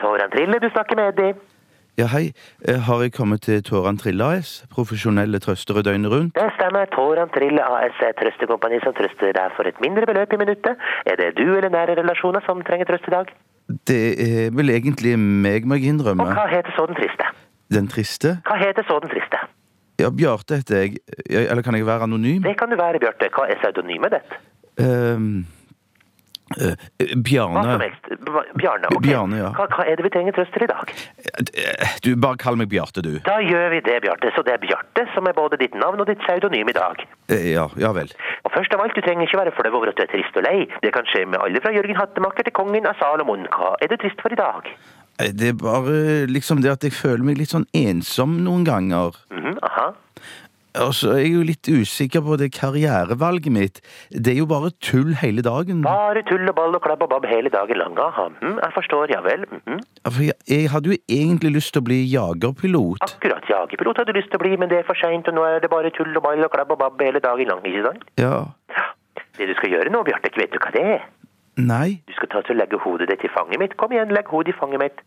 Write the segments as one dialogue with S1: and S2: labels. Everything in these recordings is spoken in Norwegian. S1: Tåran Trille, du snakker med Eddie.
S2: Ja, hei. Eh, Har jeg kommet til Tåran Trille AS? Profesjonelle trøstere døgnet rundt?
S1: Det stemmer. Tåran Trille AS er et trøstekompani som trøster deg for et mindre beløp i minuttet. Er det du eller nære relasjoner som trenger trøst i dag?
S2: Det er vel egentlig meg, må jeg
S1: Og
S2: innrømme.
S1: hva heter så den triste?
S2: Den triste?
S1: Hva heter så den triste?
S2: Ja, Bjarte heter jeg. Ja, Eller kan jeg være anonym?
S1: Det kan du være, Bjarte. Hva er pseudonymet ditt?
S2: Ehm, eh,
S1: Hva som
S2: Bjarne.
S1: helst. B- Bjarne. ok.
S2: Bjarne, ja.
S1: Hva, hva er det vi trenger trøst til i dag?
S2: Eh, Du, bare kall meg Bjarte, du.
S1: Da gjør vi det, Bjarte. Så det er Bjarte som er både ditt navn og ditt pseudonym i dag.
S2: Eh, Ja, ja vel.
S1: Og først av alt, du trenger ikke være flau over at du er trist og lei. Det kan skje med alle fra Jørgen Hattemaker til kongen av Salomon. Hva er du trist for i dag?
S2: Eh, Det er bare liksom det at jeg føler meg litt sånn ensom noen ganger.
S1: Mhm, aha.
S2: Og så er jeg jo litt usikker på det karrierevalget mitt. Det er jo bare tull hele dagen.
S1: Bare tull og ball og klabb og babb hele dagen lang. Aha. mhm, jeg forstår, ja vel. Mhm.
S2: Ja, For jeg, jeg hadde jo egentlig lyst til å bli jagerpilot.
S1: Akkurat jagerpilot hadde du lyst til å bli, men det er for seint, og nå er det bare tull og ball og klabb og babb hele dagen lang, ikke sant?
S2: Ja.
S1: Det du skal gjøre nå, Bjarte, vet du hva det er?
S2: Nei.
S1: Du skal ta til å legge hodet ditt i fanget mitt. Kom igjen, legg hodet i fanget mitt.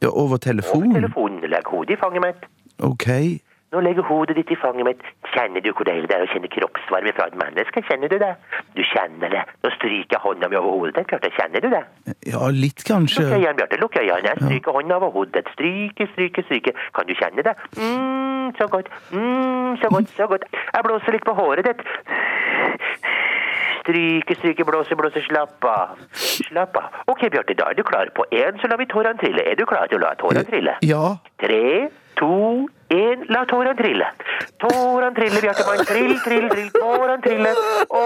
S2: Ja, over
S1: Over
S2: telefon?
S1: telefonen, legg hodet i fanget mitt.
S2: OK.
S1: Nå legger hodet ditt i fanget mitt. Kjenner du hvor deilig det er å kjenne kroppsvarme fra et menneske? Kjenner du det? Du kjenner det. Nå stryker jeg hånda mi over hodet ditt, Bjarte. Kjenner du det?
S2: Ja, litt
S1: Lukk
S2: kanskje.
S1: øynene, Bjarte. Lukk øynene. Jeg stryker hånda over hodet ditt. Stryke, stryke, stryke. Kan du kjenne det? Mm, så godt. Mm, så godt, så godt. Jeg blåser litt på håret ditt. Stryke, stryke, blåse, blåse. Slapp av. Slapp av. Ok, Bjarte, da er du klar. På én så lar vi tårene trille. Er du klar til å la tårene trille?
S2: Ja.
S1: Tre, to, én. La tårene trille. Tårene triller, Bjartemann. Trill, trill, trill. Tårene triller. Å,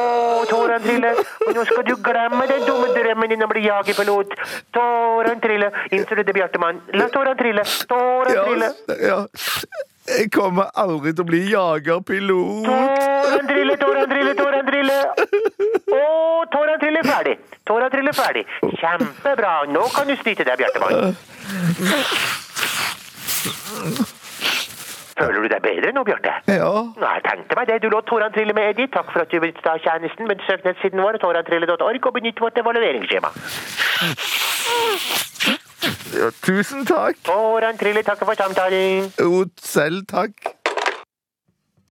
S1: tårene triller. Og nå skal du glemme den dumme drømmen din om å bli jagerpilot. Tårene triller. Innser du det, Bjartemann? La tårene trille. Tårene triller.
S2: altså. Jeg kommer aldri til å bli jagerpilot.
S1: Tårene triller, tårene triller, tårene triller. Å, tårene triller ferdig. Tårene triller ferdig. Kjempebra. Nå kan du snyte deg, Bjartemann. Føler du deg bedre nå, Bjarte?
S2: Ja.
S1: Nei, jeg tenkte meg det. Du lå Toran Trille med Eddie. Takk for at du benyttet deg av tjenesten. Med søknadssiden vår, torantrille.org, og benytt vårt evalueringsskjema.
S2: Tusen takk.
S1: Toran Trille takker for samtalen.
S2: Jo, selv takk.